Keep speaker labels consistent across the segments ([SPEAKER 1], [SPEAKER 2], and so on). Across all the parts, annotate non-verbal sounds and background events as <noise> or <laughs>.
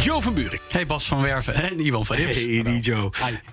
[SPEAKER 1] Joe van Buren.
[SPEAKER 2] Hey Bas van Werven en Iwan van Hips.
[SPEAKER 1] Hey die Joe.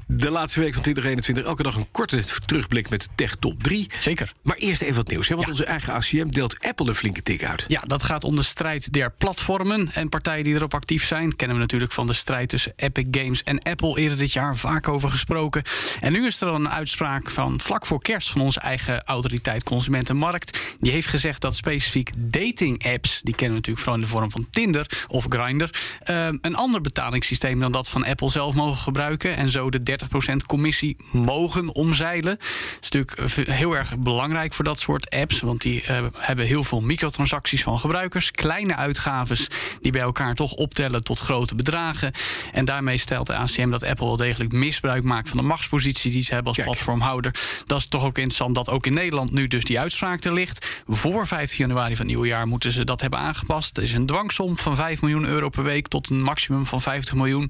[SPEAKER 1] De laatste week van 2021. Elke dag een korte terugblik met de Tech Top 3.
[SPEAKER 2] Zeker.
[SPEAKER 1] Maar eerst even wat nieuws. Hè? Want
[SPEAKER 2] Ja.
[SPEAKER 1] onze eigen ACM deelt Apple een flinke tik uit.
[SPEAKER 2] Ja, dat gaat om de strijd der platformen en partijen die erop actief zijn. Kennen we natuurlijk van de strijd tussen Epic Games en Apple eerder dit jaar vaak over gesproken. En nu is er dan een uitspraak van vlak voor kerst van onze eigen autoriteit Consumentenmarkt. Die heeft gezegd dat specifiek dating apps, die kennen we natuurlijk vooral in de vorm van Tinder of Grindr, eh, een ander betalingssysteem dan dat van Apple zelf mogen gebruiken. En zo de 30% commissie mogen omzeilen. Dat is natuurlijk eh, v- heel erg belangrijk voor dat soort apps. Want die eh, hebben heel veel microtransacties van gebruikers. Kleine uitgaves die bij elkaar toch optellen tot grote bedragen. En daarmee stelt de ACM dat Apple wel degelijk misbruik maakt van de machtspositie die ze hebben als
[SPEAKER 1] Kijk.
[SPEAKER 2] platformhouder. Dat is toch ook interessant dat ook in Nederland nu dus die uitspraak er ligt. Voor 15 januari van het nieuwe jaar moeten ze dat hebben aangepast. Er is een dwangsom van 5 miljoen euro per week tot een maximum van 50 miljoen.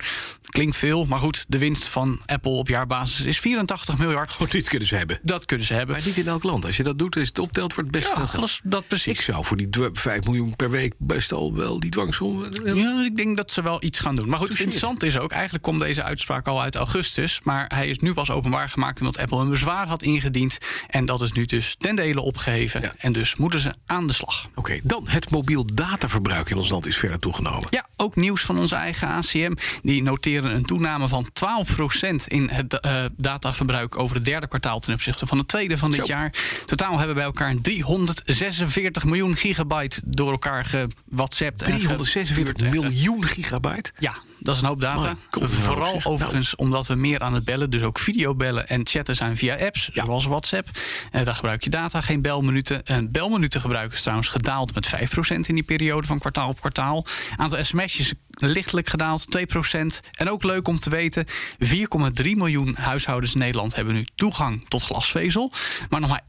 [SPEAKER 2] Klinkt veel, maar goed, de winst van Apple op jaarbasis is 84 miljard.
[SPEAKER 1] Goed, dit kunnen ze hebben.
[SPEAKER 2] Dat kunnen ze hebben.
[SPEAKER 1] Maar niet in elk land. Als je dat doet, als je het optelt, wordt het best veel
[SPEAKER 2] Ja,
[SPEAKER 1] geld.
[SPEAKER 2] alles dat
[SPEAKER 1] Ik
[SPEAKER 2] precies.
[SPEAKER 1] zou voor die dw- 5 miljoen per week best al wel die dwangsom...
[SPEAKER 2] Ja, ik denk dat ze wel iets gaan doen. Maar goed, het
[SPEAKER 1] Toucheren.
[SPEAKER 2] interessant is ook, eigenlijk komt deze uitspraak al uit augustus. Maar hij is nu pas openbaar gemaakt omdat Apple een bezwaar had ingediend. En dat is nu dus ten dele opgeheven.
[SPEAKER 1] Ja.
[SPEAKER 2] En dus moeten ze aan de slag.
[SPEAKER 1] Oké, dan het mobiel dataverbruik in ons land is verder toegenomen.
[SPEAKER 2] Ja, ook nieuws van onze eigen ACM. Die noteren een toename van 12% in het eh, dataverbruik over het derde kwartaal ten opzichte van het tweede van dit
[SPEAKER 1] Zo.
[SPEAKER 2] jaar. Totaal hebben wij elkaar 346 miljoen gigabyte door elkaar gewhatsappt. en
[SPEAKER 1] 346
[SPEAKER 2] gestuurd en ge-
[SPEAKER 1] miljoen gigabyte.
[SPEAKER 2] Ja, dat is een hoop data.
[SPEAKER 1] Mooi, cool.
[SPEAKER 2] Vooral
[SPEAKER 1] Nou, zeg,
[SPEAKER 2] overigens omdat we meer aan het bellen, dus ook videobellen en chatten zijn via apps,
[SPEAKER 1] Ja.
[SPEAKER 2] zoals WhatsApp. Eh, daar gebruik je data, geen belminuten. En belminuten gebruik is trouwens gedaald met 5% in die periode van kwartaal op kwartaal. Aantal sms'jes lichtelijk gedaald, 2%. En ook leuk om te weten, 4,3 miljoen huishoudens in Nederland hebben nu toegang tot glasvezel. Maar nog maar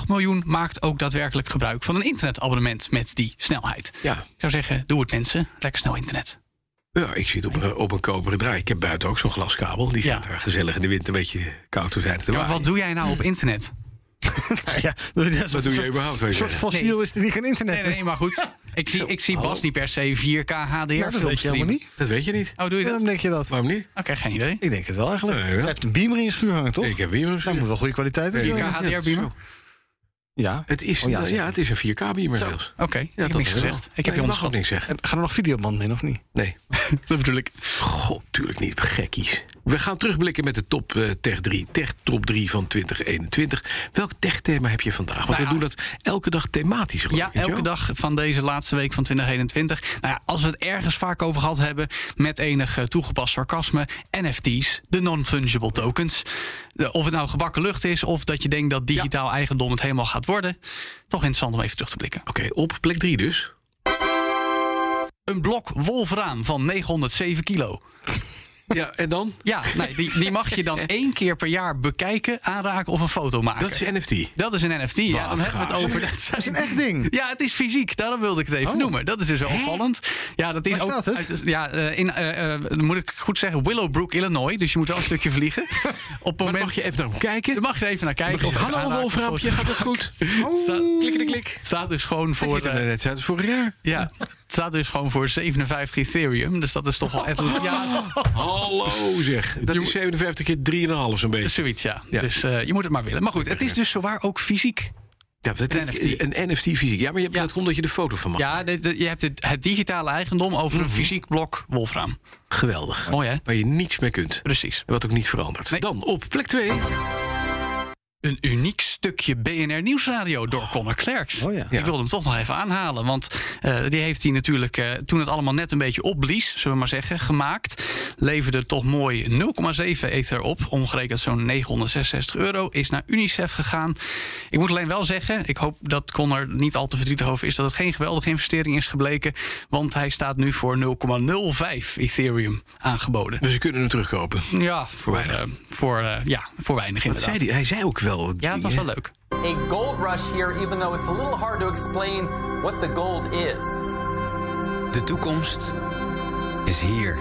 [SPEAKER 2] 1,8 miljoen maakt ook daadwerkelijk gebruik van een internetabonnement met die snelheid.
[SPEAKER 1] Ja.
[SPEAKER 2] Ik zou zeggen, doe het mensen, lekker snel internet.
[SPEAKER 1] Ja, ik zit op, een- op een koperen draai. Ik heb buiten ook zo'n glaskabel. Die staat
[SPEAKER 2] Ja.
[SPEAKER 1] daar gezellig in de winter een beetje koud te zijn. Te
[SPEAKER 2] Ja, maar
[SPEAKER 1] waaien.
[SPEAKER 2] wat doe jij nou op internet?
[SPEAKER 3] Ja, dat is
[SPEAKER 1] Wat doe je überhaupt? weet
[SPEAKER 3] Een
[SPEAKER 1] je?
[SPEAKER 3] soort fossiel is er niet geen internet.
[SPEAKER 2] Nee, nee, maar goed. Ik zie, ik zie
[SPEAKER 1] hallo.
[SPEAKER 2] Bas niet per se 4K HDR
[SPEAKER 3] Ja, Nou,
[SPEAKER 2] films
[SPEAKER 3] dat weet je helemaal
[SPEAKER 2] streamen.
[SPEAKER 3] niet.
[SPEAKER 1] Dat weet je niet.
[SPEAKER 2] Oh, doe je dat?
[SPEAKER 3] Waarom
[SPEAKER 2] Oké,
[SPEAKER 3] denk je dat?
[SPEAKER 1] Waarom niet?
[SPEAKER 2] geen idee.
[SPEAKER 3] Ik denk het wel eigenlijk.
[SPEAKER 1] Nee, ja.
[SPEAKER 3] Je hebt een beamer in je schuur hangen, toch?
[SPEAKER 1] Ik heb hier
[SPEAKER 3] Daar moet wel goede kwaliteit in
[SPEAKER 1] Nee,
[SPEAKER 3] zijn.
[SPEAKER 1] ik-
[SPEAKER 2] 4K
[SPEAKER 1] ja, dat
[SPEAKER 2] HDR
[SPEAKER 1] is
[SPEAKER 2] beamer?
[SPEAKER 3] Ja.
[SPEAKER 1] Het is,
[SPEAKER 3] Oh, ja,
[SPEAKER 1] ja,
[SPEAKER 3] zeg
[SPEAKER 1] het is een 4K-beamer zelfs.
[SPEAKER 2] Oké, ik heb niks gezegd. Ik heb
[SPEAKER 1] mag ook
[SPEAKER 2] je onderschat.
[SPEAKER 1] niks zeggen.
[SPEAKER 3] En gaan er nog videobanden in, of niet?
[SPEAKER 1] Nee.
[SPEAKER 2] <laughs> Dat bedoel ik.
[SPEAKER 1] God, tuurlijk niet. Gekkies. We gaan terugblikken met de top eh, Tech 3. Tech top 3 van 2021. Welk tech-thema heb je vandaag? Want
[SPEAKER 2] Nou
[SPEAKER 1] we
[SPEAKER 2] ja.
[SPEAKER 1] doen dat elke dag thematisch. geloof
[SPEAKER 2] Ja,
[SPEAKER 1] ik, hè,
[SPEAKER 2] elke
[SPEAKER 1] Jo?
[SPEAKER 2] dag van deze laatste week van 2021. Nou ja, als we het ergens vaak over gehad hebben, met enig eh, toegepast sarcasme, NFT's, de non-fungible tokens. De- Of het nou gebakken lucht is, of dat je denkt dat digitaal eigendom het helemaal gaat worden. Toch interessant om even terug te blikken.
[SPEAKER 1] Oké, op plek 3 dus.
[SPEAKER 2] Een blok wolfraam van 907 kilo.
[SPEAKER 1] Ja, en dan?
[SPEAKER 2] Ja, nee, die, die mag je dan één keer per jaar bekijken, aanraken of een foto maken.
[SPEAKER 1] Dat is NFT.
[SPEAKER 2] Dat is een NFT. Ja,
[SPEAKER 1] Wat
[SPEAKER 2] dan hebben we het
[SPEAKER 1] gaaf.
[SPEAKER 2] over. Dat zijn-
[SPEAKER 3] Dat is een echt ding.
[SPEAKER 2] ja, het is fysiek. Daarom wilde ik het even noemen. Dat is dus wel opvallend. Ja, dat is
[SPEAKER 3] Waar
[SPEAKER 2] ook.
[SPEAKER 3] staat het?
[SPEAKER 2] uit- ja, eh, in, eh, eh, dan moet ik goed zeggen, Willowbrook, Illinois. Dus je moet wel een stukje vliegen. Op het
[SPEAKER 1] Maar mag
[SPEAKER 2] moment.
[SPEAKER 1] je even naar hem
[SPEAKER 2] Daar
[SPEAKER 1] kijken?
[SPEAKER 2] mag je even naar kijken.
[SPEAKER 1] Hallo
[SPEAKER 2] of je het aanraakt, of
[SPEAKER 1] wolfraampje,
[SPEAKER 2] zo.
[SPEAKER 1] gaat het goed?
[SPEAKER 2] Het staat,
[SPEAKER 1] Klikken de klik.
[SPEAKER 2] het staat dus gewoon
[SPEAKER 1] Voor
[SPEAKER 2] voor.
[SPEAKER 1] het
[SPEAKER 2] eh,
[SPEAKER 1] net uit als vorig jaar.
[SPEAKER 2] ja, het staat dus gewoon voor 57 Ethereum. Dus dat is toch wel echt. Ja,
[SPEAKER 1] Hallo zeg. Dat is 57 keer 3,5 zo'n beetje.
[SPEAKER 2] zoiets, ja.
[SPEAKER 1] Ja.
[SPEAKER 2] Dus eh, je moet het maar willen. Maar goed, het is dus zowaar ook fysiek.
[SPEAKER 1] Ja, dat,
[SPEAKER 2] Een NFT.
[SPEAKER 1] Een NFT fysiek. Ja, maar je hebt,
[SPEAKER 2] Ja.
[SPEAKER 1] dat komt omdat je de foto van maakt.
[SPEAKER 2] Ja, dit- dit- je hebt het, het digitale eigendom over een fysiek blok wolfraam.
[SPEAKER 1] Geweldig.
[SPEAKER 2] Mooi, hè?
[SPEAKER 1] Waar je niets mee kunt.
[SPEAKER 2] Precies.
[SPEAKER 1] En wat ook niet verandert.
[SPEAKER 2] Nee.
[SPEAKER 1] Dan op plek 2.
[SPEAKER 2] Een uniek stukje BNR Nieuwsradio door Conor Clerks.
[SPEAKER 3] Oh ja.
[SPEAKER 2] Ik wilde hem toch nog even aanhalen. Want eh, die heeft hij natuurlijk eh, toen het allemaal net een beetje opblies, zullen we maar zeggen, gemaakt. leverde toch mooi 0,7 ether op. Omgerekend zo'n 966 euro. Is naar UNICEF gegaan. Ik moet alleen wel zeggen, ik hoop dat Con er niet al te verdrietig over is... dat het geen geweldige investering is gebleken. Want hij staat nu voor 0,05 Ethereum aangeboden.
[SPEAKER 1] Dus ze kunnen hem terugkopen.
[SPEAKER 2] Ja, voor weinig. voor, eh, ja, voor
[SPEAKER 1] Wat
[SPEAKER 2] weinig inderdaad.
[SPEAKER 1] zei die? Hij zei ook wel.
[SPEAKER 2] Ja, het was wel leuk.
[SPEAKER 4] a gold rush here, even though it's a little hard to explain what the gold is.
[SPEAKER 5] De toekomst is hier.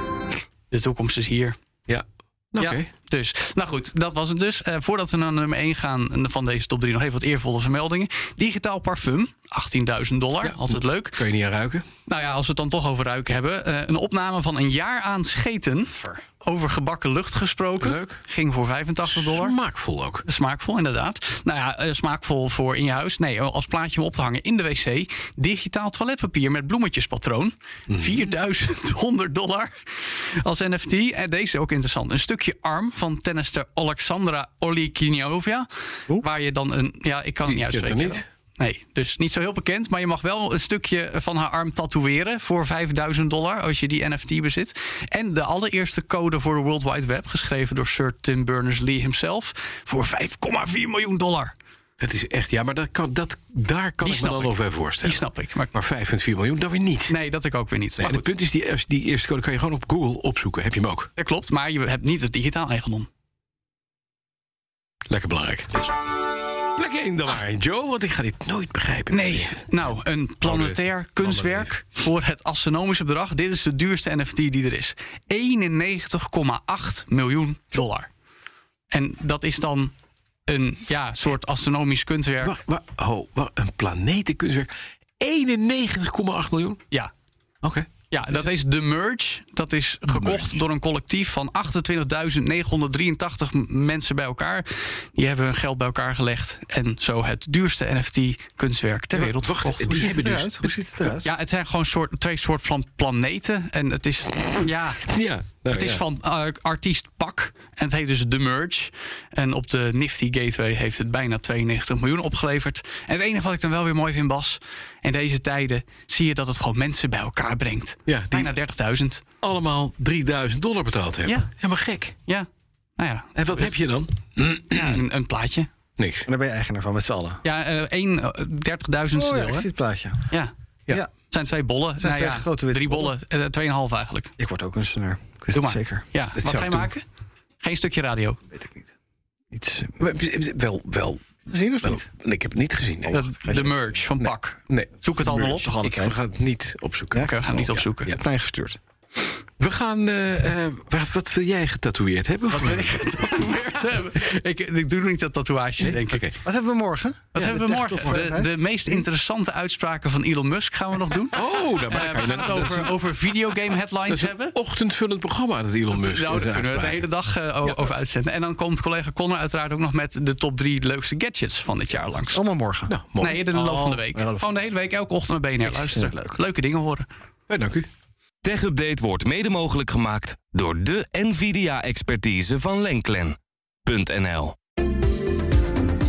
[SPEAKER 2] De toekomst is hier.
[SPEAKER 1] Ja. Oké.
[SPEAKER 2] Ja, dus, nou goed, dat was het dus. Eh, voordat we naar nummer 1 gaan eh, van deze top 3, nog even wat eervolle vermeldingen. Digitaal parfum, 18.000 dollar,
[SPEAKER 1] Ja.
[SPEAKER 2] altijd leuk.
[SPEAKER 1] Kun je niet aan ruiken?
[SPEAKER 2] Nou ja, als we het dan toch over ruiken hebben. eh, een opname van een jaar aan scheten. Over gebakken lucht gesproken.
[SPEAKER 1] Leuk.
[SPEAKER 2] Ging voor 85 dollar.
[SPEAKER 1] Smaakvol ook.
[SPEAKER 2] Smaakvol, inderdaad. Nou ja, eh, smaakvol voor in je huis. Nee, eh, als plaatje om op te hangen in de wc. Digitaal toiletpapier met bloemetjespatroon. 4100 dollar als NFT. En deze is ook interessant. Een stukje arm van tennister Alexandra Olikiniova. Waar je dan een... Ja, ik kan het niet
[SPEAKER 1] Ik ken het
[SPEAKER 2] uitspreken.
[SPEAKER 1] niet.
[SPEAKER 2] Nee, dus niet zo heel bekend. Maar je mag wel een stukje van haar arm tatoeëren voor 5000 dollar als je die NFT bezit. En de allereerste code voor de World Wide Web, geschreven door Sir Tim Berners-Lee himself, voor 5,4 miljoen dollar.
[SPEAKER 1] Dat is echt, ja, maar dat kan, dat, daar kan
[SPEAKER 2] Die
[SPEAKER 1] ik me
[SPEAKER 2] snap
[SPEAKER 1] dan
[SPEAKER 2] ik.
[SPEAKER 1] nog bij voorstellen.
[SPEAKER 2] Die snap ik, maar-
[SPEAKER 1] maar 5,4 miljoen, dat weer niet.
[SPEAKER 2] Nee, dat ik ook weer niet.
[SPEAKER 1] Nee,
[SPEAKER 2] Maar
[SPEAKER 1] en het
[SPEAKER 2] goed,
[SPEAKER 1] punt is, die, eerste- die eerste code kan je gewoon op Google opzoeken. Heb je hem ook?
[SPEAKER 2] dat klopt, maar je hebt niet het digitaal eigendom.
[SPEAKER 1] Lekker belangrijk. Dus. Plek 1 dan maar, Joe, want ik ga dit nooit begrijpen.
[SPEAKER 2] Ah. Nee, nou, een planetair kunstwerk voor het astronomische bedrag. Dit is de duurste NFT die er is. 91,8 miljoen dollar. En dat is dan een ja, soort astronomisch kunstwerk.
[SPEAKER 1] Wacht, wacht, oh, wacht, een planetenkunstwerk. 91,8 miljoen?
[SPEAKER 2] Ja.
[SPEAKER 1] Oké.
[SPEAKER 2] Ja, dat is de merge. Dat is gekocht
[SPEAKER 1] Merge.
[SPEAKER 2] door een collectief van 28.983 m- mensen bij elkaar. Die hebben hun geld bij elkaar gelegd en zo het duurste NFT-kunstwerk ter wereld
[SPEAKER 1] wacht,
[SPEAKER 2] verkocht.
[SPEAKER 1] die hebben dus...
[SPEAKER 3] Eruit? Hoe ziet het eruit?
[SPEAKER 2] Ja, het zijn gewoon soort, twee soorten van planeten. En het is, ja,
[SPEAKER 1] Ja, nou
[SPEAKER 2] het is
[SPEAKER 1] ja.
[SPEAKER 2] van eh, artiest Pak. En het heet dus The Merge. En op de Nifty Gateway heeft het bijna 92 miljoen opgeleverd. En het enige wat ik dan wel weer mooi vind, Bas... in deze tijden zie je dat het gewoon mensen bij elkaar brengt.
[SPEAKER 1] Ja, die-
[SPEAKER 2] Bijna 30.000.
[SPEAKER 1] allemaal 3000 dollar betaald hebben.
[SPEAKER 2] Ja.
[SPEAKER 1] ja maar gek.
[SPEAKER 2] Ja, nou ja,
[SPEAKER 1] En wat heb je dan?
[SPEAKER 2] ja, een, een plaatje.
[SPEAKER 1] Niks.
[SPEAKER 3] En daar ben je eigenaar van, met z'n allen.
[SPEAKER 2] Ja, eh één eh, 30.000
[SPEAKER 3] Oh ja,
[SPEAKER 2] deel,
[SPEAKER 3] ik
[SPEAKER 2] hè?
[SPEAKER 3] zie het plaatje.
[SPEAKER 2] Ja,
[SPEAKER 3] Ja.
[SPEAKER 2] het zijn twee bollen.
[SPEAKER 3] zijn
[SPEAKER 2] Nou
[SPEAKER 3] twee
[SPEAKER 2] ja,
[SPEAKER 3] grote witte
[SPEAKER 2] Drie bollen, eh, tweeënhalf eigenlijk.
[SPEAKER 3] Ik word ook kunstenaar. Ik weet
[SPEAKER 2] Doe
[SPEAKER 3] het
[SPEAKER 2] maar.
[SPEAKER 3] zeker.
[SPEAKER 2] Ja,
[SPEAKER 1] Dat
[SPEAKER 2] wat
[SPEAKER 1] zou
[SPEAKER 2] ga je
[SPEAKER 1] ik doen.
[SPEAKER 2] maken? Geen stukje radio.
[SPEAKER 3] Weet ik niet. Iets eh,
[SPEAKER 1] Wel, wel.
[SPEAKER 3] gezien of
[SPEAKER 1] wel
[SPEAKER 3] niet?
[SPEAKER 1] ik heb het niet gezien. Nee.
[SPEAKER 2] Dat- de merge van Pak. <laughs>
[SPEAKER 1] Nee.
[SPEAKER 2] Zoek het allemaal op.
[SPEAKER 1] Merch. Ik ga het niet opzoeken.
[SPEAKER 2] Oké, we gaan het niet opzoeken.
[SPEAKER 3] Je hebt mij gestuurd.
[SPEAKER 1] We gaan. eh, eh, wat, wat wil jij getatoeëerd hebben?
[SPEAKER 2] Wat
[SPEAKER 1] voor
[SPEAKER 2] wil
[SPEAKER 1] mij?
[SPEAKER 2] ik getatoeëerd hebben? Ik, ik doe niet dat tatoeage, denk ik.
[SPEAKER 1] Oké.
[SPEAKER 3] Wat hebben we morgen?
[SPEAKER 2] Wat
[SPEAKER 3] Ja,
[SPEAKER 2] hebben
[SPEAKER 3] de
[SPEAKER 2] we morgen?
[SPEAKER 3] techtopveiligheid.
[SPEAKER 2] De, de
[SPEAKER 3] Hm?
[SPEAKER 2] meest interessante uitspraken van Elon Musk gaan we nog doen.
[SPEAKER 1] Oh, daar maar
[SPEAKER 2] Eh, we
[SPEAKER 1] kan je
[SPEAKER 2] gaan het
[SPEAKER 1] dan over.
[SPEAKER 2] over, over videogame headlines hebben.
[SPEAKER 1] Ochtendvullend programma dat Elon Musk.
[SPEAKER 2] Nou, daar
[SPEAKER 1] zijn
[SPEAKER 2] kunnen we de
[SPEAKER 1] uitspraak.
[SPEAKER 2] hele dag eh, o- over uitzenden. En dan komt collega Connor uiteraard ook nog met de top drie leukste gadgets van dit jaar langs.
[SPEAKER 3] Allemaal morgen.
[SPEAKER 1] Nou, mooi.
[SPEAKER 2] Nee, in de loop van de week.
[SPEAKER 3] Oh. de loop van-
[SPEAKER 2] Gewoon de hele week, elke ochtend naar BNR luisteren.
[SPEAKER 3] vind ik leuk.
[SPEAKER 2] Leuke dingen horen.
[SPEAKER 1] Eh, dank u.
[SPEAKER 5] TechUpdate wordt mede mogelijk gemaakt door de NVIDIA-expertise van Lenklen.nl.